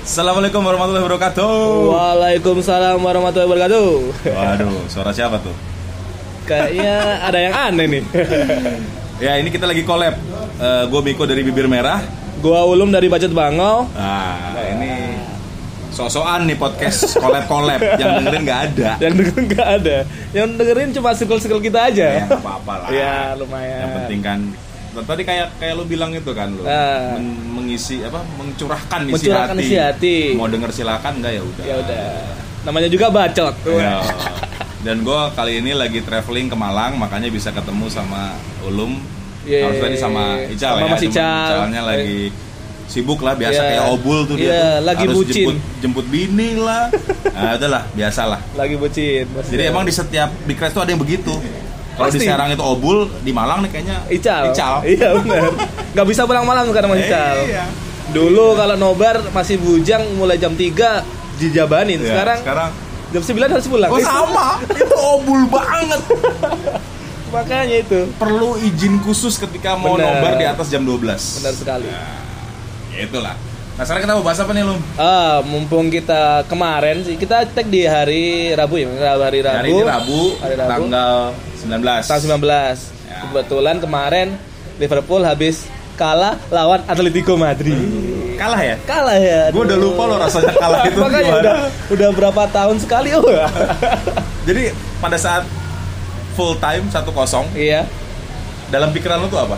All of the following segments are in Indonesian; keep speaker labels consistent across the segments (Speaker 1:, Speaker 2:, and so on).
Speaker 1: Assalamualaikum warahmatullahi wabarakatuh.
Speaker 2: Waalaikumsalam warahmatullahi wabarakatuh.
Speaker 1: Waduh, suara siapa tuh?
Speaker 2: Kayaknya ada yang aneh nih.
Speaker 1: Ya, ini kita lagi collab. Eh, gue Miko dari Bibir Merah.
Speaker 2: Gua Ulum dari Bacot Bangau.
Speaker 1: Nah, ini sosokan nih podcast collab-collab yang dengerin nggak ada.
Speaker 2: Yang dengerin nggak ada. Yang dengerin cuma circle-circle kita aja.
Speaker 1: Ya, nggak apa-apa lah.
Speaker 2: Ya, lumayan.
Speaker 1: Yang penting kan tadi kayak kayak lu bilang itu kan lu
Speaker 2: Ah.
Speaker 1: men- mengisi apa mencurahkan isi
Speaker 2: Mencurahkan
Speaker 1: hati.
Speaker 2: isi hati.
Speaker 1: Mau denger silakan nggak ya udah.
Speaker 2: Ya udah. Namanya juga bacot.
Speaker 1: Ya. Dan gue kali ini lagi traveling ke Malang, makanya bisa ketemu sama Ulum.
Speaker 2: Yeay.
Speaker 1: Harus tadi sama Ical
Speaker 2: iya, Sama
Speaker 1: ya.
Speaker 2: Mas
Speaker 1: cuman
Speaker 2: Ical.
Speaker 1: Icalnya lagi sibuk lah, biasa
Speaker 2: Iya.
Speaker 1: kayak obul tuh dia.
Speaker 2: Iya,
Speaker 1: tuh.
Speaker 2: lagi
Speaker 1: Harus
Speaker 2: bucin.
Speaker 1: Jemput, jemput bini lah. Nah, itulah, biasalah.
Speaker 2: Lagi bucin.
Speaker 1: Jadi emang di setiap Big Rest tuh ada yang begitu. Kalau di
Speaker 2: Iya. Pasti.
Speaker 1: Serang itu obul, di Malang nih kayaknya
Speaker 2: Ical. Iya benar. Gak bisa pulang malam karena sama Ical.
Speaker 1: Iya.
Speaker 2: Dulu kalau nobar masih bujang mulai jam 3 dijabanin.
Speaker 1: Iya,
Speaker 2: Sekarang,
Speaker 1: sekarang
Speaker 2: jam 9 harus pulang.
Speaker 1: Oh sama, itu obul banget.
Speaker 2: Makanya itu.
Speaker 1: Perlu izin khusus ketika mau
Speaker 2: Benar.
Speaker 1: nobar di atas jam 12.
Speaker 2: Benar sekali.
Speaker 1: Ya itulah. Nah sekarang kita mau bahas apa nih Lum?
Speaker 2: Ah, mumpung kita kemarin sih kita tag di hari Rabu ya, hari Rabu.
Speaker 1: Hari ini Rabu,
Speaker 2: Hari Rabu.
Speaker 1: tanggal 19.
Speaker 2: tanggal 19.
Speaker 1: Ya.
Speaker 2: Kebetulan kemarin Liverpool habis kalah lawan Atletico Madrid.
Speaker 1: Kalah ya?
Speaker 2: Kalah ya.
Speaker 1: Gue udah
Speaker 2: aduh.
Speaker 1: lupa loh rasanya kalah itu
Speaker 2: Makanya
Speaker 1: gimana.
Speaker 2: udah, udah berapa tahun sekali oh.
Speaker 1: Jadi pada saat full time 1-0
Speaker 2: iya.
Speaker 1: dalam pikiran lo tuh apa?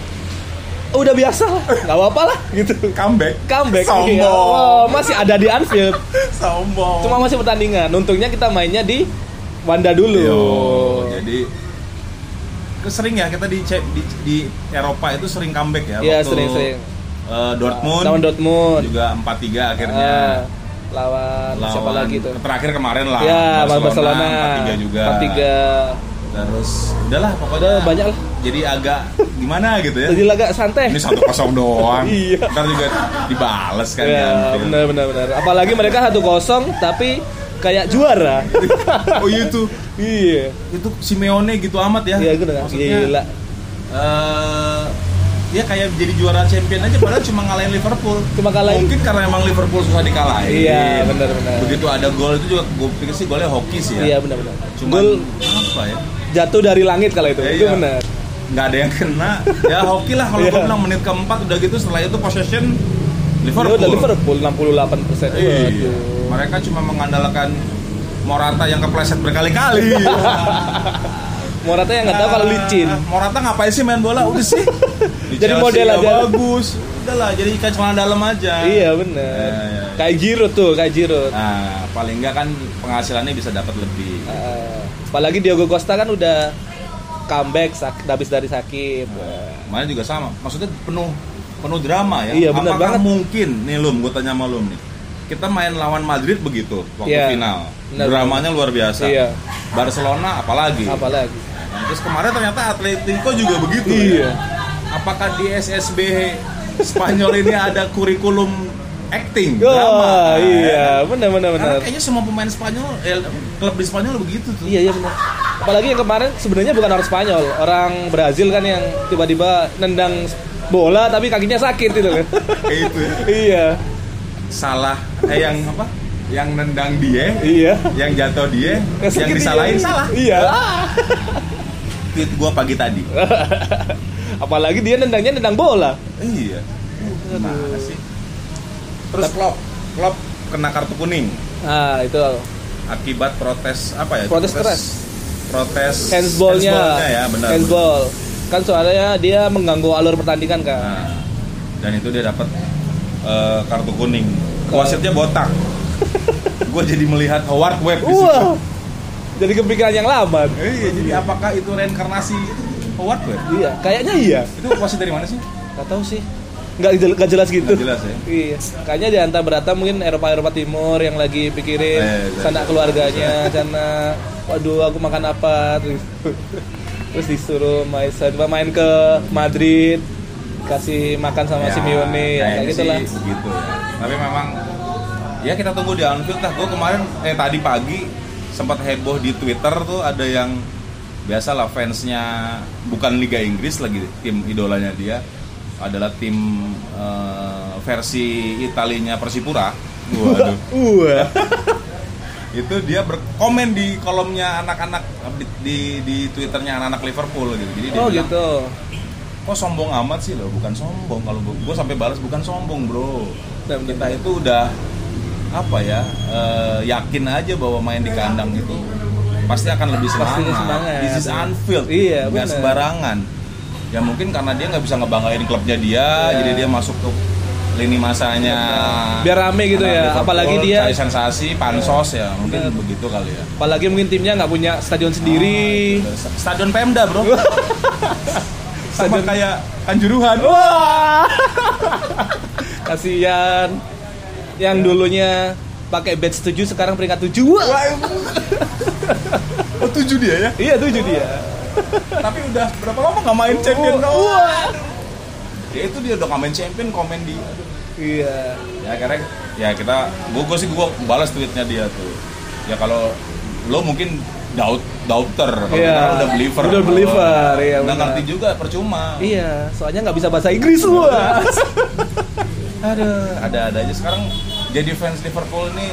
Speaker 2: Udah biasa lah. Enggak apa-apa lah gitu.
Speaker 1: Comeback.
Speaker 2: Comeback.
Speaker 1: Sombong.
Speaker 2: Iya. Wow, masih ada di Anfield.
Speaker 1: Sombong.
Speaker 2: Cuma masih pertandingan. Untungnya kita mainnya di Wanda dulu.
Speaker 1: Yo, Iya, jadi sering ya kita di di, di Eropa itu sering comeback ya
Speaker 2: Iya,
Speaker 1: waktu,
Speaker 2: sering-sering.
Speaker 1: eh, Dortmund,
Speaker 2: Lawan Dortmund.
Speaker 1: juga 4-3 akhirnya.
Speaker 2: Ah, lawan,
Speaker 1: lawan
Speaker 2: siapa lagi tuh?
Speaker 1: terakhir kemarin lah
Speaker 2: Ya, lawan Barcelona.
Speaker 1: 4-3 juga
Speaker 2: 4-3.
Speaker 1: terus udahlah pokoknya
Speaker 2: Udah Oh, banyak lah.
Speaker 1: jadi agak gimana gitu ya
Speaker 2: Jadi laga santai.
Speaker 1: ini satu kosong doang
Speaker 2: Iya.
Speaker 1: ntar juga dibales kan ya,
Speaker 2: Ya,
Speaker 1: Anfield.
Speaker 2: benar benar benar. Apalagi mereka 1-0 tapi kayak juara.
Speaker 1: oh iya tuh
Speaker 2: iya.
Speaker 1: itu Simeone gitu amat ya
Speaker 2: Iya, gue dengar.
Speaker 1: maksudnya ya.
Speaker 2: Gila.
Speaker 1: eh, dia kayak jadi juara champion aja padahal cuma ngalahin Liverpool
Speaker 2: Cuma kalahin.
Speaker 1: mungkin karena emang Liverpool susah dikalahin
Speaker 2: Iya, benar, benar.
Speaker 1: begitu ada gol itu juga gue pikir sih golnya hoki sih ya
Speaker 2: Iya, benar benar. Gol
Speaker 1: cuman apa ya
Speaker 2: jatuh dari langit kalau itu.
Speaker 1: Ya,
Speaker 2: itu
Speaker 1: iya.
Speaker 2: benar.
Speaker 1: nggak ada yang kena ya hoki lah kalau
Speaker 2: Iya.
Speaker 1: gue bilang menit keempat udah gitu setelah itu possession Liverpool,
Speaker 2: Udah Liverpool 68%.
Speaker 1: Iya.
Speaker 2: Waduh.
Speaker 1: mereka cuma mengandalkan Morata yang kepleset berkali-kali
Speaker 2: Morata yang nggak tahu Iya. kalau licin.
Speaker 1: Ah, Morata ngapain sih main bola udah sih Di
Speaker 2: Jadi
Speaker 1: Chelsea
Speaker 2: model
Speaker 1: nggak
Speaker 2: aja.
Speaker 1: bagus udah lah jadi ikan celana dalam aja
Speaker 2: Iya, benar.
Speaker 1: Ya, ya.
Speaker 2: Kayak Giroud tuh, kayak Giroud.
Speaker 1: nah paling nggak kan penghasilannya bisa dapat lebih
Speaker 2: Eh, apalagi Diogo Costa kan udah comeback sak- habis dari sakit.
Speaker 1: Mana juga sama. Maksudnya penuh penuh drama ya.
Speaker 2: Iya, benar
Speaker 1: Apakah
Speaker 2: banget.
Speaker 1: mungkin nih Lum, gue tanya sama Lum nih. Kita main lawan Madrid begitu waktu
Speaker 2: Iya,
Speaker 1: final.
Speaker 2: benar.
Speaker 1: Dramanya luar biasa.
Speaker 2: Iya.
Speaker 1: Barcelona apalagi.
Speaker 2: Apalagi.
Speaker 1: Nah, Terus kemarin ternyata Atletico juga begitu. ya.
Speaker 2: Iya.
Speaker 1: Apakah di SSB Spanyol ini ada kurikulum acting
Speaker 2: Oh,
Speaker 1: drama? kan?
Speaker 2: iya, benar benar
Speaker 1: Karena
Speaker 2: benar.
Speaker 1: kayaknya semua pemain Spanyol, eh, klub di Spanyol begitu tuh.
Speaker 2: Iya iya benar. Apalagi yang kemarin sebenarnya bukan orang Spanyol, orang Brazil kan yang tiba-tiba nendang bola tapi kakinya sakit gitu kan.
Speaker 1: Kayak itu ya.
Speaker 2: iya.
Speaker 1: Salah eh, yang apa? Yang nendang dia,
Speaker 2: Iya.
Speaker 1: yang jatuh dia, yang
Speaker 2: sakit
Speaker 1: disalahin
Speaker 2: iya.
Speaker 1: salah. Ah.
Speaker 2: Iya.
Speaker 1: Tweet gua pagi tadi.
Speaker 2: Apalagi dia nendangnya nendang bola.
Speaker 1: iya. Gimana sih? Terus Klopp, Klopp kena kartu kuning
Speaker 2: Ah, itu.
Speaker 1: akibat protes apa ya?
Speaker 2: Protes keras.
Speaker 1: Protes
Speaker 2: Handsballnya.
Speaker 1: handsballnya ya, benar.
Speaker 2: Handsball. Kan soalnya dia mengganggu alur pertandingan kan.
Speaker 1: Nah, dan itu dia dapat eh, kartu kuning. Wasitnya botak. gua jadi melihat Howard Webb di situ.
Speaker 2: Wah. Jadi kepikiran yang lama.
Speaker 1: Iya, jadi apakah itu reinkarnasi itu Howard Webb?
Speaker 2: Iya, kayaknya iya.
Speaker 1: Itu wasit dari mana sih?
Speaker 2: Gak tahu sih. Gak, jel- gak jelas gitu.
Speaker 1: Nggak jelas ya.
Speaker 2: Iya. Kayaknya di antara berata mungkin Eropa Eropa Timur yang lagi
Speaker 1: Eh,
Speaker 2: pikirin
Speaker 1: iya. bisa,
Speaker 2: sana
Speaker 1: bisa,
Speaker 2: keluarganya, sana waduh aku makan apa terus terus disuruh main tiba main ke Madrid kasih makan sama
Speaker 1: Ya,
Speaker 2: Simeone ya, kayak
Speaker 1: kayaknya
Speaker 2: gitulah.
Speaker 1: sih Gitu ya. Tapi memang ya kita tunggu di Anfield lah. Gue kemarin eh tadi pagi sempat heboh di Twitter tuh ada yang biasalah fansnya bukan Liga Inggris lagi tim idolanya dia adalah tim eh, versi Italinya Persipura Waduh. Iya.
Speaker 2: Wah.
Speaker 1: itu dia berkomen di kolomnya anak-anak di, di, di twitternya anak-anak Liverpool gitu jadi dia
Speaker 2: Oh
Speaker 1: bilang
Speaker 2: gitu.
Speaker 1: kok sombong amat sih lo bukan sombong kalau gue sampai balas bukan sombong bro
Speaker 2: Benar, benar.
Speaker 1: kita itu udah apa ya eh, yakin aja bahwa main di kandang itu pasti akan lebih semangat,
Speaker 2: Pasti semangat.
Speaker 1: this is Anfield
Speaker 2: Iya,
Speaker 1: nggak
Speaker 2: benar.
Speaker 1: sembarangan ya mungkin karena dia nggak bisa ngebanggain klubnya dia
Speaker 2: Iya.
Speaker 1: jadi dia masuk ke lini masanya
Speaker 2: Biar rame gitu
Speaker 1: anak
Speaker 2: ya,
Speaker 1: Liverpool,
Speaker 2: apalagi dia- Iya.
Speaker 1: cari sensasi pansos ya mungkin
Speaker 2: Benar.
Speaker 1: begitu kali ya
Speaker 2: Apalagi mungkin timnya nggak punya stadion sendiri.
Speaker 1: Ah, itu. stadion Pemda bro sama
Speaker 2: Stadion-
Speaker 1: kayak Kanjuruhan
Speaker 2: Wah. Kasihan. Yang dulunya pakai badge 7 sekarang peringkat 7. Wah.
Speaker 1: oh tujuh dia ya
Speaker 2: Iya 7 dia.
Speaker 1: tapi udah berapa lama nggak main champion
Speaker 2: Wah.
Speaker 1: doang
Speaker 2: Wah.
Speaker 1: ya itu dia udah nggak main champion komen di
Speaker 2: Iya.
Speaker 1: ya akhirnya ya kita gue sih gue balas tweetnya dia tuh ya kalau lo mungkin doubt doubter kalau
Speaker 2: Iya.
Speaker 1: kita udah believer
Speaker 2: Udah believer, iya,
Speaker 1: nggak
Speaker 2: benar.
Speaker 1: ngerti juga percuma
Speaker 2: Iya, soalnya nggak bisa bahasa Inggris wah.
Speaker 1: ada ada ada aja sekarang jadi fans Liverpool ini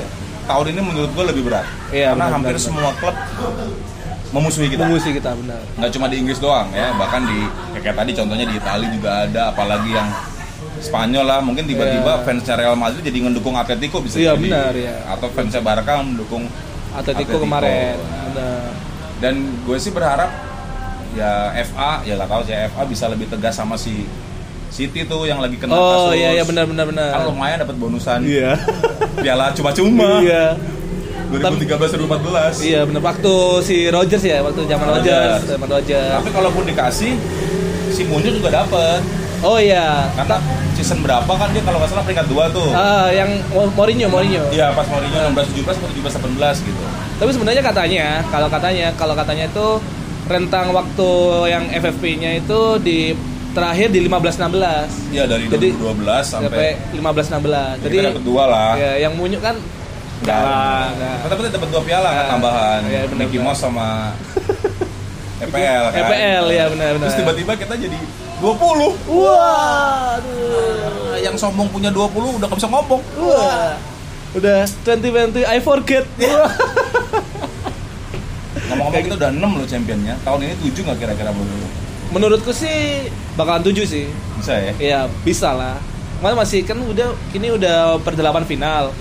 Speaker 1: tahun ini menurut gue lebih berat
Speaker 2: Iya,
Speaker 1: karena
Speaker 2: benar,
Speaker 1: hampir
Speaker 2: benar,
Speaker 1: semua klub memusuhi kita
Speaker 2: Mengusik kita benar.
Speaker 1: nggak cuma di Inggris doang ya bahkan di ya kayak tadi contohnya di Italia juga ada apalagi yang Spanyol lah mungkin tiba-tiba
Speaker 2: Iya.
Speaker 1: fansnya Real Madrid jadi mendukung Atletico bisa
Speaker 2: Iya,
Speaker 1: jadi
Speaker 2: benar, iya.
Speaker 1: atau fansnya Barca mendukung Atletico.
Speaker 2: Atletico kemarin. Benar.
Speaker 1: dan gue sih berharap ya FA ya nggak tahu sih FA bisa lebih tegas sama si City tuh yang lagi kena
Speaker 2: Oh
Speaker 1: kasus
Speaker 2: iya iya benar benar benar.
Speaker 1: kan lumayan dapat bonusan
Speaker 2: Iya.
Speaker 1: piala cuma-cuma
Speaker 2: Iya.
Speaker 1: 2013 2014
Speaker 2: Iya benar waktu si Rogers ya, waktu zaman
Speaker 1: Rodgers.
Speaker 2: Rogers, zaman Rogers.
Speaker 1: tapi kalaupun dikasih si Munir juga dapat
Speaker 2: Oh iya.
Speaker 1: karena season berapa kan dia kalau nggak salah peringkat 2 tuh
Speaker 2: Ah, yang Mo- Mourinho, Mourinho.
Speaker 1: Iya pas Mourinho 16 17 atau 17 18 gitu.
Speaker 2: Tapi sebenarnya katanya, kalau katanya, kalau katanya itu rentang waktu yang FFP-nya itu di terakhir di 15-16
Speaker 1: Iya dari
Speaker 2: Jadi,
Speaker 1: 2012
Speaker 2: sampai
Speaker 1: sampai, jadi
Speaker 2: 15-16. Jadi
Speaker 1: kita dapat dua lah.
Speaker 2: ya, yang munyuk kan enggak lah, enggak.
Speaker 1: Tapi kita dapat dua piala kan
Speaker 2: Nah,
Speaker 1: tambahan.
Speaker 2: iya, benar,
Speaker 1: Mickey
Speaker 2: benar.
Speaker 1: Mouse sama EPL kan.
Speaker 2: EPL ya benar-benar.
Speaker 1: Terus tiba-tiba kita jadi 20.
Speaker 2: Wah, aduh.
Speaker 1: Nah, Yang sombong punya 20 udah gak bisa ngomong.
Speaker 2: Wah. Udah 2020 I forget.
Speaker 1: Iya.
Speaker 2: Wah.
Speaker 1: Ngomong-ngomong kita udah 6 loh championnya. Tahun ini 7 nggak kira-kira menurut lu?
Speaker 2: Menurutku sih bakalan 7 sih.
Speaker 1: Bisa ya?
Speaker 2: Ya, bisa lah. Kemarin masih kan udah ini udah per 8 final.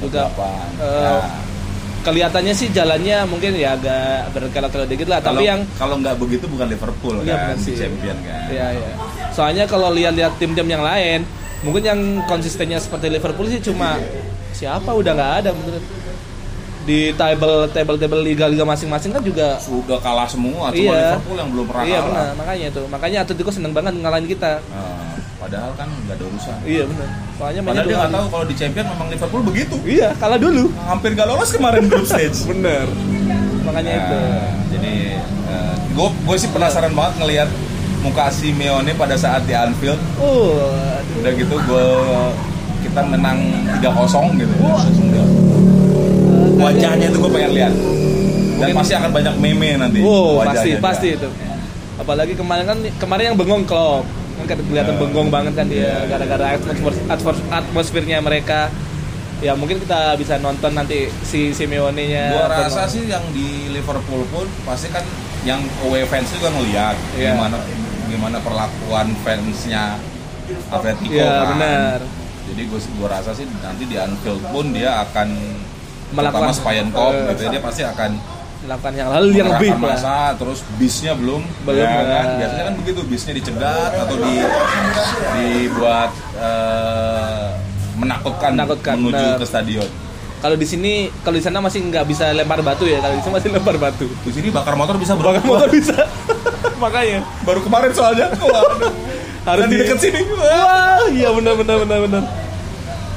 Speaker 2: Juga
Speaker 1: Delapan.
Speaker 2: eh,
Speaker 1: Nah,
Speaker 2: kelihatannya sih jalannya mungkin ya agak berkelok-kelok dikit lah,
Speaker 1: kalau-
Speaker 2: tapi yang
Speaker 1: kalau nggak begitu bukan Liverpool
Speaker 2: Iya,
Speaker 1: kan
Speaker 2: benar
Speaker 1: di
Speaker 2: sih.
Speaker 1: champion kan.
Speaker 2: Iya, iya. Soalnya kalau lihat-lihat tim-tim yang lain, mungkin yang konsistennya seperti Liverpool sih cuma siapa udah nggak ada menurut di table table table liga-liga masing-masing kan juga
Speaker 1: Sudah kalah semua, cuma
Speaker 2: Iya.
Speaker 1: Liverpool yang belum pernah
Speaker 2: iya
Speaker 1: kalah.
Speaker 2: benar makanya itu makanya Atletico seneng banget ngalahin kita
Speaker 1: Eh, padahal kan nggak ada urusan.
Speaker 2: iya benar soalnya mainnya
Speaker 1: Padahal dia
Speaker 2: dua
Speaker 1: nggak
Speaker 2: kali.
Speaker 1: tahu kalau di champion memang Liverpool begitu.
Speaker 2: iya kalah dulu
Speaker 1: Hampir nggak lolos kemarin grup stage. Nah,
Speaker 2: bener Iya, makanya itu
Speaker 1: Iya. jadi gue gue sih penasaran banget ngelihat muka Simeone pada saat di Anfield.
Speaker 2: uh
Speaker 1: Udah gitu gue kita menang 3-0 gitu. Udah. Wajahnya tuh gue pengen lihat. Dan
Speaker 2: Mungkin-
Speaker 1: pasti akan banyak meme nanti.
Speaker 2: Wow,
Speaker 1: wajahnya
Speaker 2: pasti
Speaker 1: dia.
Speaker 2: pasti itu. Apalagi kemarin kan kemarin yang bengong klop. Kan ket-
Speaker 1: Ya.
Speaker 2: kelihatan bengong banget kan dia
Speaker 1: Ya.
Speaker 2: gara-gara atmosfer, atmos- atmosfernya mereka. Ya mungkin kita bisa nonton nanti si Simeone-nya.
Speaker 1: Gua
Speaker 2: atau-
Speaker 1: rasa sih yang di Liverpool pun pasti kan yang away fans juga ngeliat
Speaker 2: Iya.
Speaker 1: gimana gimana perlakuan fansnya Atletico
Speaker 2: Iya,
Speaker 1: kan.
Speaker 2: benar.
Speaker 1: Jadi gue gua rasa sih nanti di Anfield pun dia akan terutama
Speaker 2: Melakukan-
Speaker 1: Spain Cop
Speaker 2: Eh.
Speaker 1: gitu ya, dia pasti akan
Speaker 2: melakukan yang hal yang lebih
Speaker 1: mengerahkan
Speaker 2: lah.
Speaker 1: massa terus bisnya belum
Speaker 2: Belum,
Speaker 1: ya kan?
Speaker 2: ya.
Speaker 1: biasanya kan begitu bisnya dicegat atau di dibuat eh, menakutkan,
Speaker 2: Menakutkan,
Speaker 1: menuju
Speaker 2: benar.
Speaker 1: ke stadion.
Speaker 2: Kalau di sini, kalau di sana masih nggak bisa lempar batu ya. Kalau di sini masih lempar batu.
Speaker 1: Di sini bakar motor bisa bro.
Speaker 2: Bakal motor bisa. makanya
Speaker 1: baru kemarin soalnya Waduh.
Speaker 2: harus
Speaker 1: Dan di deket sini.
Speaker 2: Wah, iya benar benar benar benar.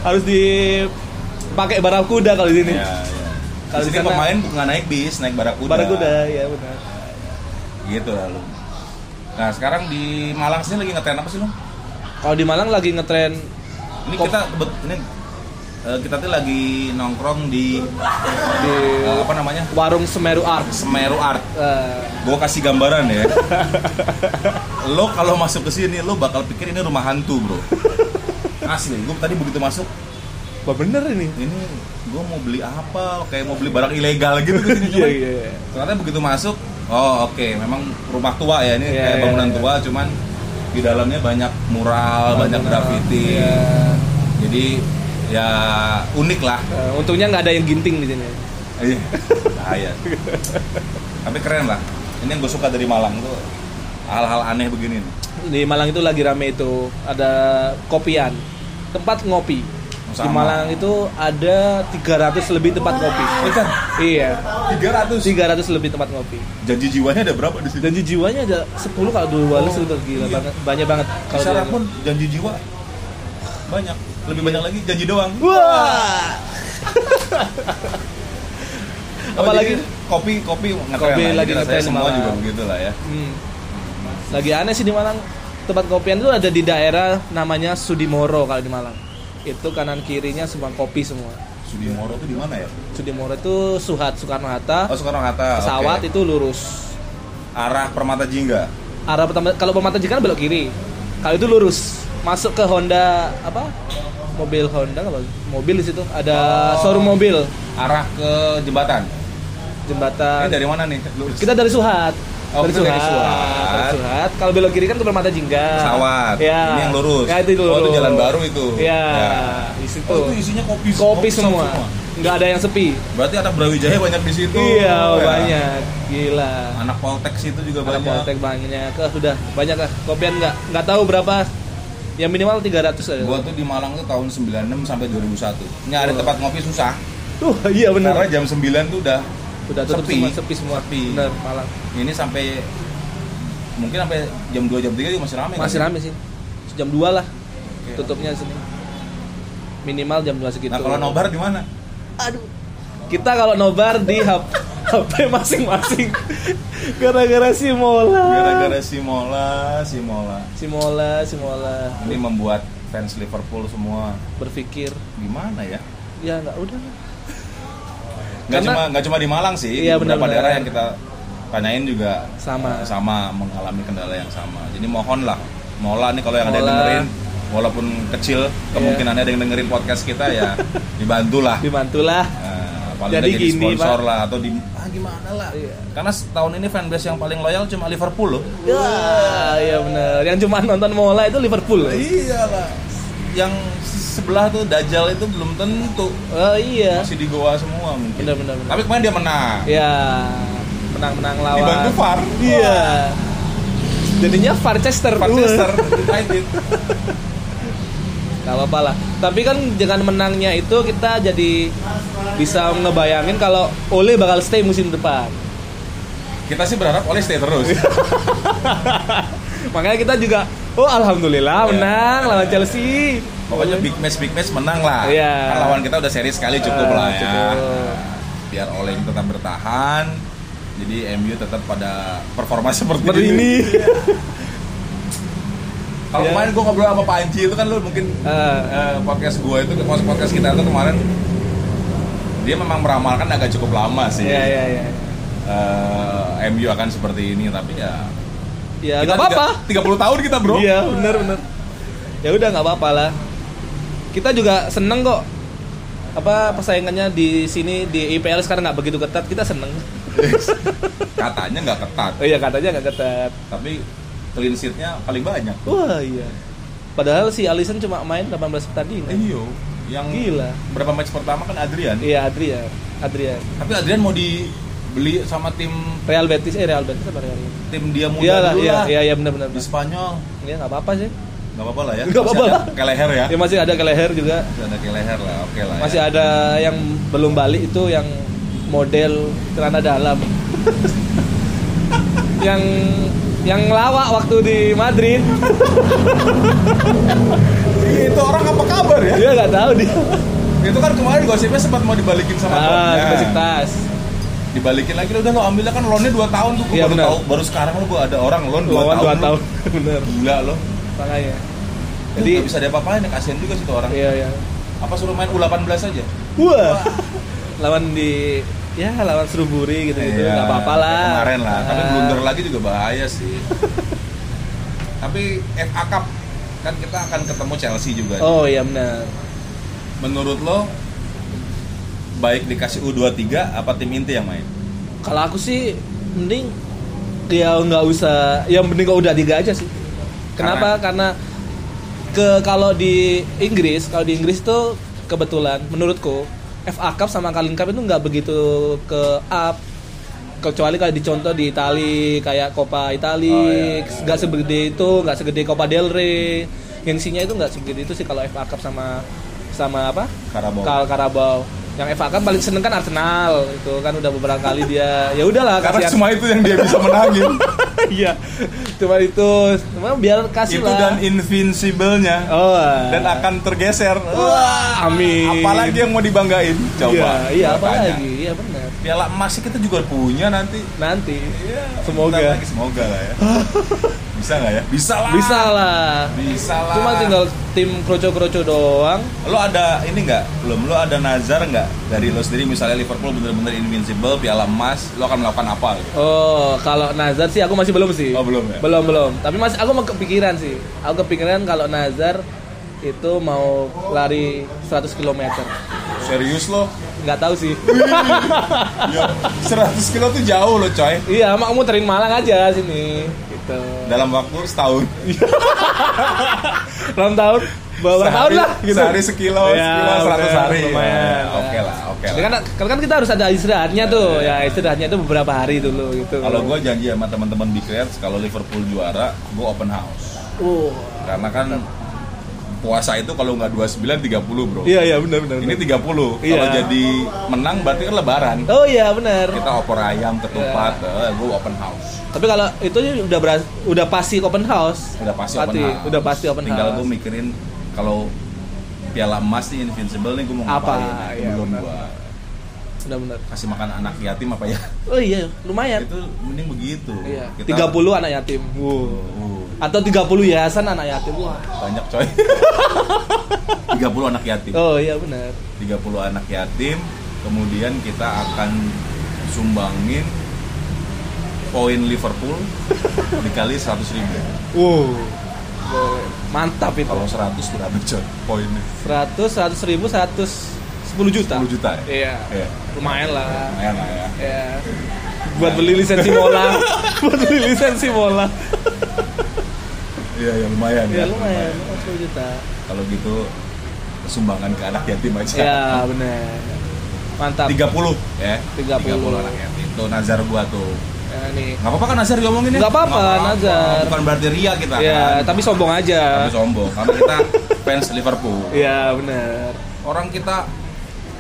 Speaker 2: Harus dipakai barang kuda kalau di sini.
Speaker 1: ya, ya.
Speaker 2: Iya, Kalau
Speaker 1: Kalau
Speaker 2: di
Speaker 1: sini
Speaker 2: sana-
Speaker 1: pemain nggak naik bis naik barakuda
Speaker 2: Barakuda, ya benar.
Speaker 1: gitu lalu nah sekarang di Malang sih lagi ngetren apa sih lo
Speaker 2: Kalau di Malang lagi ngetren
Speaker 1: ini
Speaker 2: Kok-
Speaker 1: kita kebet- ini eh, kita tuh lagi nongkrong di
Speaker 2: di
Speaker 1: eh, apa namanya
Speaker 2: warung Semeru Arts.
Speaker 1: Semeru Art
Speaker 2: Eh,
Speaker 1: gue kasih gambaran ya lo kalau masuk ke sini lo bakal pikir ini rumah hantu bro asli gue tadi begitu masuk
Speaker 2: Wah bener ini.
Speaker 1: ini gue mau beli apa kayak mau beli barang ilegal gitu gitu
Speaker 2: Iya iya. iya.
Speaker 1: ternyata begitu masuk oh oke memang rumah tua ya ini
Speaker 2: Iya,
Speaker 1: kayak
Speaker 2: iya,
Speaker 1: bangunan
Speaker 2: iya.
Speaker 1: tua cuman di dalamnya banyak mural banyak
Speaker 2: Bangunan,
Speaker 1: graffiti
Speaker 2: iya.
Speaker 1: jadi ya unik lah
Speaker 2: Eh, untungnya nggak ada yang ginting di sini.
Speaker 1: iya bahaya tapi keren lah ini yang gue suka dari Malang tuh hal-hal aneh begini nih.
Speaker 2: Di Malang itu lagi rame itu ada kopian, tempat ngopi. Di
Speaker 1: Sama.
Speaker 2: Malang itu ada 300 lebih tempat kopi.
Speaker 1: Eh, Chan,
Speaker 2: Iya,
Speaker 1: 300
Speaker 2: 300 lebih tempat ngopi.
Speaker 1: janji jiwanya ada berapa di sini?
Speaker 2: Janji jiwanya ada 10 kalau dulu Wales
Speaker 1: Oh,
Speaker 2: itu gila
Speaker 1: iya.
Speaker 2: banget, banyak banget.
Speaker 1: Di
Speaker 2: Kalau
Speaker 1: Serang
Speaker 2: dulu.
Speaker 1: pun janji jiwa banyak lebih banyak lagi janji doang
Speaker 2: Iya. Wah.
Speaker 1: Oh,
Speaker 2: Apalagi
Speaker 1: jadi kopi kopi ngetren
Speaker 2: Kopi
Speaker 1: lah.
Speaker 2: lagi
Speaker 1: Jadi rasanya
Speaker 2: ngetren
Speaker 1: semua
Speaker 2: malah.
Speaker 1: juga begitu lah ya
Speaker 2: Hmm. Lagi aneh sih di Malang. Tempat kopian itu ada di daerah namanya Sudimoro kalau di Malang. Itu kanan kirinya semua kopi semua.
Speaker 1: Sudimoro tuh di mana ya
Speaker 2: Sudimoro itu Suhat
Speaker 1: Oh
Speaker 2: Soekarno Hatta.
Speaker 1: Soekarno Hatta.
Speaker 2: Pesawat
Speaker 1: oke.
Speaker 2: itu lurus.
Speaker 1: Arah Permata Jingga.
Speaker 2: Arah pertama kalau pemata jika belok kiri. Kalau itu lurus. Masuk ke Honda apa? Mobil Honda apa? Mobil di situ ada
Speaker 1: Oh.
Speaker 2: showroom mobil
Speaker 1: Arah ke jembatan. Ini
Speaker 2: jembatan.
Speaker 1: dari mana nih? Lurus.
Speaker 2: Kita dari Suhat.
Speaker 1: Oh,
Speaker 2: dari
Speaker 1: kita dari
Speaker 2: Suhat.
Speaker 1: Suhat.
Speaker 2: Dari Suhat. Kalau belok kiri kan ke Permata Jingga.
Speaker 1: pesawat.
Speaker 2: Ya.
Speaker 1: Ini yang lurus.
Speaker 2: Ya, itu lurus.
Speaker 1: Oh itu jalan baru itu.
Speaker 2: Ya, di situ.
Speaker 1: Oh itu isinya kopi.
Speaker 2: kopi semua. Nggak ada yang sepi.
Speaker 1: Berarti anak Brawijaya banyak di situ.
Speaker 2: iya,
Speaker 1: Ya.
Speaker 2: banyak. Gila.
Speaker 1: Anak Poltek situ juga
Speaker 2: Ada
Speaker 1: banyak.
Speaker 2: poltek banyak. Eh, udah banyak lah. Kopian nggak nggak tahu berapa. Yang minimal 300 ada.
Speaker 1: Gua tuh di Malang tuh tahun 96 sampai 2001. Nyari
Speaker 2: Oh.
Speaker 1: tempat ngopi susah.
Speaker 2: Tuh, iya
Speaker 1: Karena
Speaker 2: benar.
Speaker 1: jam 9 tuh udah
Speaker 2: Udah tutup
Speaker 1: sepi.
Speaker 2: semua, sepi semua.
Speaker 1: Sepi.
Speaker 2: Benar, Malang.
Speaker 1: ini sampai mungkin sampai jam 2 jam 3 juga masih kan? Nah, ramai.
Speaker 2: Masih rame sih. Jam 2 lah
Speaker 1: Iya.
Speaker 2: tutupnya sini. Minimal jam 2 segitu.
Speaker 1: Nah, kalau nobar di mana?
Speaker 2: Aduh. Kita kalau nobar di hap- HP masing-masing. Gara-gara si Mola.
Speaker 1: Gara-gara si Mola, si Mola.
Speaker 2: Si Mola, si Mola
Speaker 1: Ini membuat fans Liverpool semua
Speaker 2: berpikir
Speaker 1: gimana ya?
Speaker 2: ya nggak udah lah.
Speaker 1: Nggak
Speaker 2: Karena-
Speaker 1: cuma nggak cuma di Malang sih,
Speaker 2: Iya,
Speaker 1: di beberapa
Speaker 2: benar-benar.
Speaker 1: daerah yang kita tanyain juga
Speaker 2: Sama.
Speaker 1: eh, sama mengalami kendala yang sama. Jadi mohon lah, Mola nih kalau yang ada yang
Speaker 2: Mola.
Speaker 1: dengerin, walaupun kecil kemungkinannya ada yang dengerin podcast kita ya dibantulah.
Speaker 2: dibantulah
Speaker 1: Eh, paling
Speaker 2: Iya. Jadi
Speaker 1: nggak jadi
Speaker 2: gini,
Speaker 1: sponsor
Speaker 2: Pak.
Speaker 1: lah atau di ah gimana lah.
Speaker 2: Iya.
Speaker 1: Karena tahun ini fanbase yang paling loyal cuma Liverpool loh.
Speaker 2: ya ya benar yang cuma nonton Mola itu Liverpool
Speaker 1: Iya.
Speaker 2: loh.
Speaker 1: Iyalah. Yang sebelah tuh Dajjal itu belum tentu
Speaker 2: oh iya
Speaker 1: masih di Goa semua mungkin.
Speaker 2: benar benar benar
Speaker 1: Tapi kemarin dia menang.
Speaker 2: ya menang menang lawan
Speaker 1: Dibantu VAR.
Speaker 2: iya jadinya Farchester
Speaker 1: Manchester United.
Speaker 2: Gak apa-apa lah. Tapi kan dengan menangnya itu kita jadi bisa ngebayangin kalau Ole bakal stay musim depan.
Speaker 1: Kita sih berharap oleh stay terus.
Speaker 2: Makanya kita juga, oh alhamdulillah menang lawan Chelsea.
Speaker 1: Pokoknya big match big match menang lah.
Speaker 2: Iya.
Speaker 1: Kan lawan kita udah seri sekali cukup
Speaker 2: Ah,
Speaker 1: lah ya.
Speaker 2: cukup.
Speaker 1: Biar oleh tetap bertahan. Jadi MU tetap pada performa seperti,
Speaker 2: Seperti ini.
Speaker 1: Kalau
Speaker 2: Iya.
Speaker 1: kemarin gue ngobrol sama Pak Anji itu kan lu mungkin
Speaker 2: Eh,
Speaker 1: eh, podcast gue itu podcast podcast kita itu kemarin dia memang meramalkan agak cukup lama sih.
Speaker 2: Iya iya iya.
Speaker 1: Eh, MU akan seperti ini tapi ya
Speaker 2: Ya
Speaker 1: kita
Speaker 2: nggak apa-apa.
Speaker 1: tiga- 30 tahun kita, Bro.
Speaker 2: Iya benar benar. Ya udah nggak apa-apa lah. Kita juga seneng kok. Apa persaingannya di sini di IPL sekarang nggak begitu ketat. Kita seneng.
Speaker 1: Katanya nggak ketat,
Speaker 2: Oh iya katanya nggak ketat.
Speaker 1: tapi clean sheet-nya paling banyak.
Speaker 2: Wah iya. Padahal si Alisson cuma main 18 pertandingan.
Speaker 1: Iyo, yang
Speaker 2: Gila.
Speaker 1: berapa match pertama kan Adrian.
Speaker 2: Iya Adrian. Adrian.
Speaker 1: Tapi Adrian mau dibeli sama tim
Speaker 2: Real Betis eh Real Betis apa Real? Betis?
Speaker 1: tim dia muda
Speaker 2: Iya lah,
Speaker 1: dulu
Speaker 2: iya
Speaker 1: lah.
Speaker 2: iya iya benar benar.
Speaker 1: Di Spanyol.
Speaker 2: Iya nggak apa-apa sih.
Speaker 1: Nggak apa-apa lah ya.
Speaker 2: Nggak
Speaker 1: Masih
Speaker 2: apa-apa
Speaker 1: ada
Speaker 2: lah.
Speaker 1: Keleher ya.
Speaker 2: Ya masih ada ke leher juga.
Speaker 1: Masih ada keleher lah, oke lah.
Speaker 2: Masih
Speaker 1: ya.
Speaker 2: ada yang belum balik itu yang model celana dalam. yang yang lawak waktu di Madrid.
Speaker 1: Ih, itu orang apa kabar ya?
Speaker 2: Dia nggak tahu dia.
Speaker 1: Itu kan kemarin gosipnya sempat mau dibalikin sama
Speaker 2: Ah,
Speaker 1: klubnya.
Speaker 2: Besiktas.
Speaker 1: Dibalikin lagi udah lo ambil lah, kan loannya 2 tahun tuh gua
Speaker 2: Iya,
Speaker 1: baru
Speaker 2: benar.
Speaker 1: tahu baru sekarang lo gua ada orang loan 2 Kan
Speaker 2: Lawan
Speaker 1: tahun.
Speaker 2: dua
Speaker 1: lu.
Speaker 2: tahun. Bener.
Speaker 1: Gila lo.
Speaker 2: Makanya.
Speaker 1: Jadi
Speaker 2: Jadi
Speaker 1: nggak bisa diapa-apain, ya, kasihan juga sih tuh orang.
Speaker 2: iya ya.
Speaker 1: Apa suruh main U18 aja?
Speaker 2: Wah. lawan di ya lawan Seruburi gitu-gitu
Speaker 1: Iya,
Speaker 2: nggak apa-apa lah.
Speaker 1: kayak Kemarin lah, tapi
Speaker 2: Ah.
Speaker 1: blunder lagi juga bahaya sih. tapi FA Cup kan kita akan ketemu Chelsea juga.
Speaker 2: Oh iya benar.
Speaker 1: menurut lo baik dikasih U23 apa tim inti yang main?
Speaker 2: Kalau aku sih mending ya nggak usah, yang mending kalau udah tiga aja sih. Kenapa? Karena, ke kalau di Inggris, kalau di Inggris tuh kebetulan menurutku FA Cup sama Carling Cup itu nggak begitu ke up kecuali kalau dicontoh di Itali kayak Coppa Itali
Speaker 1: Oh, iya, iya.
Speaker 2: nggak segede itu nggak segede Copa del Rey gengsinya itu nggak segede itu sih kalau FA Cup sama sama apa
Speaker 1: Karabau.
Speaker 2: Kal Karabau. Yang FA kan paling seneng kan Arsenal itu kan udah beberapa kali dia ya udahlah
Speaker 1: Karena
Speaker 2: kasih
Speaker 1: cuma itu yang dia bisa menangin.
Speaker 2: iya. Cuma itu cuma biar kasih
Speaker 1: itu
Speaker 2: lah.
Speaker 1: dan invincible-nya
Speaker 2: oh,
Speaker 1: dan akan tergeser.
Speaker 2: wah, amin.
Speaker 1: Apalagi yang mau dibanggain? Coba.
Speaker 2: Iya, iya
Speaker 1: coba tanya.
Speaker 2: apalagi? Iya benar.
Speaker 1: Piala emas kita juga punya nanti.
Speaker 2: Nanti
Speaker 1: Iya,
Speaker 2: Semoga.
Speaker 1: bentar lagi semoga lah ya. bisa nggak ya? Bisa lah.
Speaker 2: bisa lah.
Speaker 1: Bisa lah.
Speaker 2: Cuma tinggal tim kroco-kroco doang.
Speaker 1: Lo ada ini nggak? Belum. Lo ada nazar nggak dari lo sendiri? Misalnya Liverpool bener-bener invincible, piala emas, lo akan melakukan apa? Gitu?
Speaker 2: Oh, kalau Nazar sih aku masih belum sih.
Speaker 1: Oh, belum ya?
Speaker 2: Belum belum. Tapi masih aku mau kepikiran sih. Aku kepikiran kalau Nazar itu mau lari 100 km.
Speaker 1: Serius lo?
Speaker 2: nggak tahu sih
Speaker 1: Ya, 100 kilo tuh jauh lo coy.
Speaker 2: iya mak muterin Malang aja sini gitu
Speaker 1: Dalam waktu setahun.
Speaker 2: enam tahun bawa berapa tahun
Speaker 1: Sehari-
Speaker 2: lah gitu
Speaker 1: Sehari sekilo,
Speaker 2: Ya,
Speaker 1: sekilo 100
Speaker 2: bener,
Speaker 1: hari.
Speaker 2: lumayan.
Speaker 1: Ya, Oke lah, oke
Speaker 2: Jadi
Speaker 1: lah.
Speaker 2: kan, kan kan kita harus ada istirahatnya tuh ya istirahatnya itu beberapa hari dulu gitu
Speaker 1: Kalau gue janji sama teman-teman di Creates, kalau Liverpool juara, gue open house.
Speaker 2: oh
Speaker 1: Karena kan puasa itu kalau nggak 29, 30 bro.
Speaker 2: iya iya benar benar
Speaker 1: Ini 30. Kalau
Speaker 2: Iya.
Speaker 1: jadi menang berarti kan lebaran.
Speaker 2: oh iya benar
Speaker 1: Kita opor ayam, ketupat, eh,
Speaker 2: Iya.
Speaker 1: gue open house.
Speaker 2: tapi kalau itu udah beras- udah pasti open house
Speaker 1: Udah pasti,
Speaker 2: Pasti,
Speaker 1: open house.
Speaker 2: udah pasti open
Speaker 1: Tinggal
Speaker 2: house.
Speaker 1: gue mikirin kalau piala emas nih invincible nih gue mau
Speaker 2: Apa?
Speaker 1: ngapain.
Speaker 2: Iya,
Speaker 1: Belum
Speaker 2: benar.
Speaker 1: gua
Speaker 2: benar benar
Speaker 1: kasih makan anak yatim apa ya?
Speaker 2: oh iya lumayan
Speaker 1: Itu mending begitu.
Speaker 2: iya
Speaker 1: Kita-
Speaker 2: 30 anak yatim wow.
Speaker 1: Uh,
Speaker 2: atau 30 yayasan anak yatim wah
Speaker 1: banyak coy. 30 anak yatim.
Speaker 2: oh iya benar
Speaker 1: 30 anak yatim, kemudian kita akan sumbangin poin Liverpool dikali 100 ribu.
Speaker 2: wow mantap itu
Speaker 1: Kalau 100 berapa coy poinnya?
Speaker 2: 100, 100 ribu, 100 10 juta
Speaker 1: 10 juta ya?
Speaker 2: Iya,
Speaker 1: Iya.
Speaker 2: lumayan lah
Speaker 1: Lumayan lah ya.
Speaker 2: Iya Buat beli lisensi bola Buat beli lisensi bola
Speaker 1: Iya, ya, lumayan ya.
Speaker 2: Iya lumayan, 10 juta
Speaker 1: Kalau gitu sumbangan ke anak yatim aja.
Speaker 2: Iya bener Mantap
Speaker 1: 30 ya.
Speaker 2: 30.
Speaker 1: anak yatim. Tuh nazar gua tuh.
Speaker 2: Ya, nih.
Speaker 1: Nggak apa-apa kan Nazar diomongin ya?
Speaker 2: Nggak apa-apa, Nazar.
Speaker 1: Bukan berarti ria kita
Speaker 2: Ya,
Speaker 1: kan?
Speaker 2: tapi sombong aja
Speaker 1: Tapi sombong, karena kita fans Liverpool
Speaker 2: Iya bener
Speaker 1: Orang kita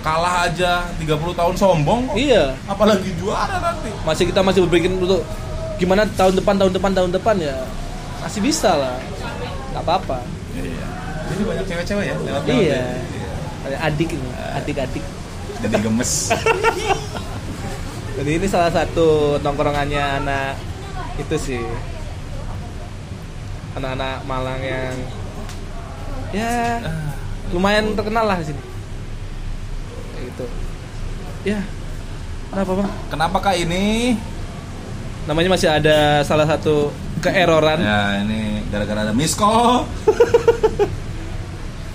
Speaker 1: kalah aja 30 tahun sombong kok.
Speaker 2: Iya
Speaker 1: Apalagi juara nanti
Speaker 2: Masih kita masih berpikir untuk Gimana tahun depan, tahun depan, tahun depan ya Masih bisa lah Gak apa-apa
Speaker 1: Iya Jadi banyak cewek-cewek ya lewat
Speaker 2: Iya. Ada adik ini, adik-adik.
Speaker 1: Jadi gemes
Speaker 2: Jadi ini salah satu nongkrongannya anak itu sih. Anak-anak Malang yang ya
Speaker 1: Nah,
Speaker 2: lumayan terkenal lah di sini. Kayak Gitu. Ya. Kenapa, Bang?
Speaker 1: Kenapa kak ini?
Speaker 2: Namanya masih ada salah satu keeroran.
Speaker 1: Ya ini gara-gara ada miss call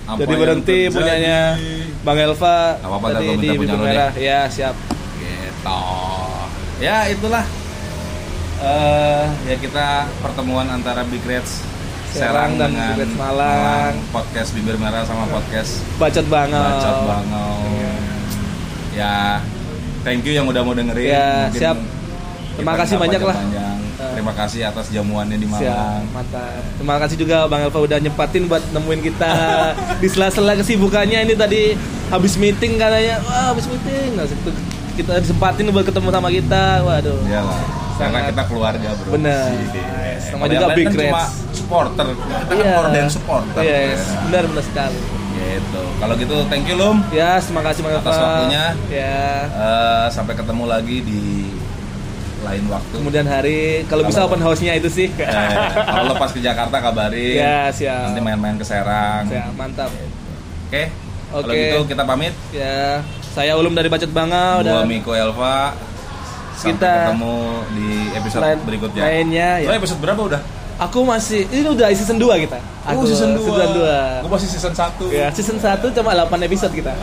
Speaker 1: Apa
Speaker 2: Jadi
Speaker 1: yang
Speaker 2: berhenti
Speaker 1: terjadi?
Speaker 2: punyanya Bang Elva
Speaker 1: Nggak apa-apa,
Speaker 2: tadi
Speaker 1: ntar gua
Speaker 2: di
Speaker 1: minta punya
Speaker 2: Bibir
Speaker 1: lu deh.
Speaker 2: Merah. Ya, siap.
Speaker 1: Gitu Ya itulah eh ya kita pertemuan antara Big Reds
Speaker 2: Serang dan
Speaker 1: dengan
Speaker 2: Big Reds Malang. Oh.
Speaker 1: podcast bibir merah sama podcast
Speaker 2: Bacot banget.
Speaker 1: bacot bangau
Speaker 2: Iya.
Speaker 1: ya thank you yang udah mau dengerin
Speaker 2: Ya, siap. Terima
Speaker 1: kita
Speaker 2: kasih
Speaker 1: nggak
Speaker 2: banyak lah.
Speaker 1: panjang-panjang.
Speaker 2: Eh.
Speaker 1: terima kasih atas jamuannya di
Speaker 2: Siap,
Speaker 1: Malang
Speaker 2: mantap. Terima kasih juga Bang Elva udah nyempatin buat nemuin kita di sela-sela kesibukannya ini tadi habis meeting katanya. Wah, habis meeting. Nah, situ kita disempatin buat ketemu sama kita. Waduh.
Speaker 1: Iyalah, karena
Speaker 2: Sangat.
Speaker 1: kita keluarga bro
Speaker 2: Bener.
Speaker 1: Iya.
Speaker 2: Sama
Speaker 1: Kalau
Speaker 2: juga
Speaker 1: yang lain
Speaker 2: Big
Speaker 1: kan cuma
Speaker 2: Reds. Iya.
Speaker 1: supporter kita kan korden supporter
Speaker 2: Yes,
Speaker 1: Ya.
Speaker 2: Iya, benar benar sekali.
Speaker 1: gitu kalau gitu thank you Lum
Speaker 2: Ya, terima kasih Bang Elva.
Speaker 1: Atas waktunya.
Speaker 2: Ya.
Speaker 1: Eh, sampai ketemu lagi di lain waktu.
Speaker 2: Kemudian hari kalau bisa
Speaker 1: Kalau-
Speaker 2: open house-nya itu sih.
Speaker 1: Eh, kalau lepas ke Jakarta kabarin.
Speaker 2: Ya, siap.
Speaker 1: Nanti main-main ke Serang.
Speaker 2: Ya, mantap.
Speaker 1: Oke. Kalau
Speaker 2: Oke.
Speaker 1: gitu kita pamit.
Speaker 2: Ya, saya Ulum dari Bacot
Speaker 1: Gua
Speaker 2: Bangau dan
Speaker 1: Miko Elva. Sampai
Speaker 2: Oh, Kita-
Speaker 1: ketemu di episode
Speaker 2: lain-
Speaker 1: berikutnya.
Speaker 2: lainnya, ya.
Speaker 1: Lo episode berapa udah?
Speaker 2: Aku masih ini udah season 2 kita.
Speaker 1: Oh,
Speaker 2: Aku
Speaker 1: season 2.
Speaker 2: Season 2.
Speaker 1: Gue masih season 1.
Speaker 2: Ya, season 1 cuma 8 episode kita.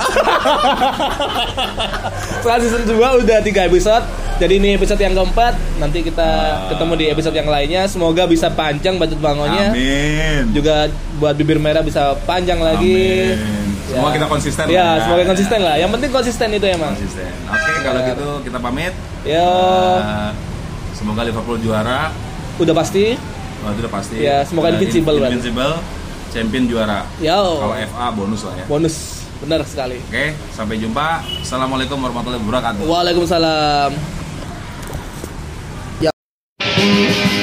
Speaker 2: Setelah season 2 udah 3 episode. Jadi ini episode yang keempat. Nanti kita
Speaker 1: Ah.
Speaker 2: ketemu di episode yang lainnya. Semoga bisa panjang budget bangonya.
Speaker 1: Amin.
Speaker 2: Juga buat bibir merah bisa panjang lagi.
Speaker 1: Amin. Semoga
Speaker 2: Ya.
Speaker 1: kita konsisten. lah
Speaker 2: Ya, semoga konsisten lah. Yang penting konsisten itu emang.
Speaker 1: Konsisten. Oke, kalau
Speaker 2: Ya.
Speaker 1: gitu kita pamit.
Speaker 2: Ya,
Speaker 1: Eh, semoga Liverpool juara.
Speaker 2: udah pasti.
Speaker 1: Oh, itu udah pasti.
Speaker 2: Ya, semoga
Speaker 1: Eh,
Speaker 2: invincible, Bang.
Speaker 1: Invincible, champion juara.
Speaker 2: Ya.
Speaker 1: Kalau FA bonus lah ya.
Speaker 2: Bonus. Benar sekali.
Speaker 1: Oke, sampai jumpa. Assalamualaikum warahmatullahi wabarakatuh.
Speaker 2: Waalaikumsalam.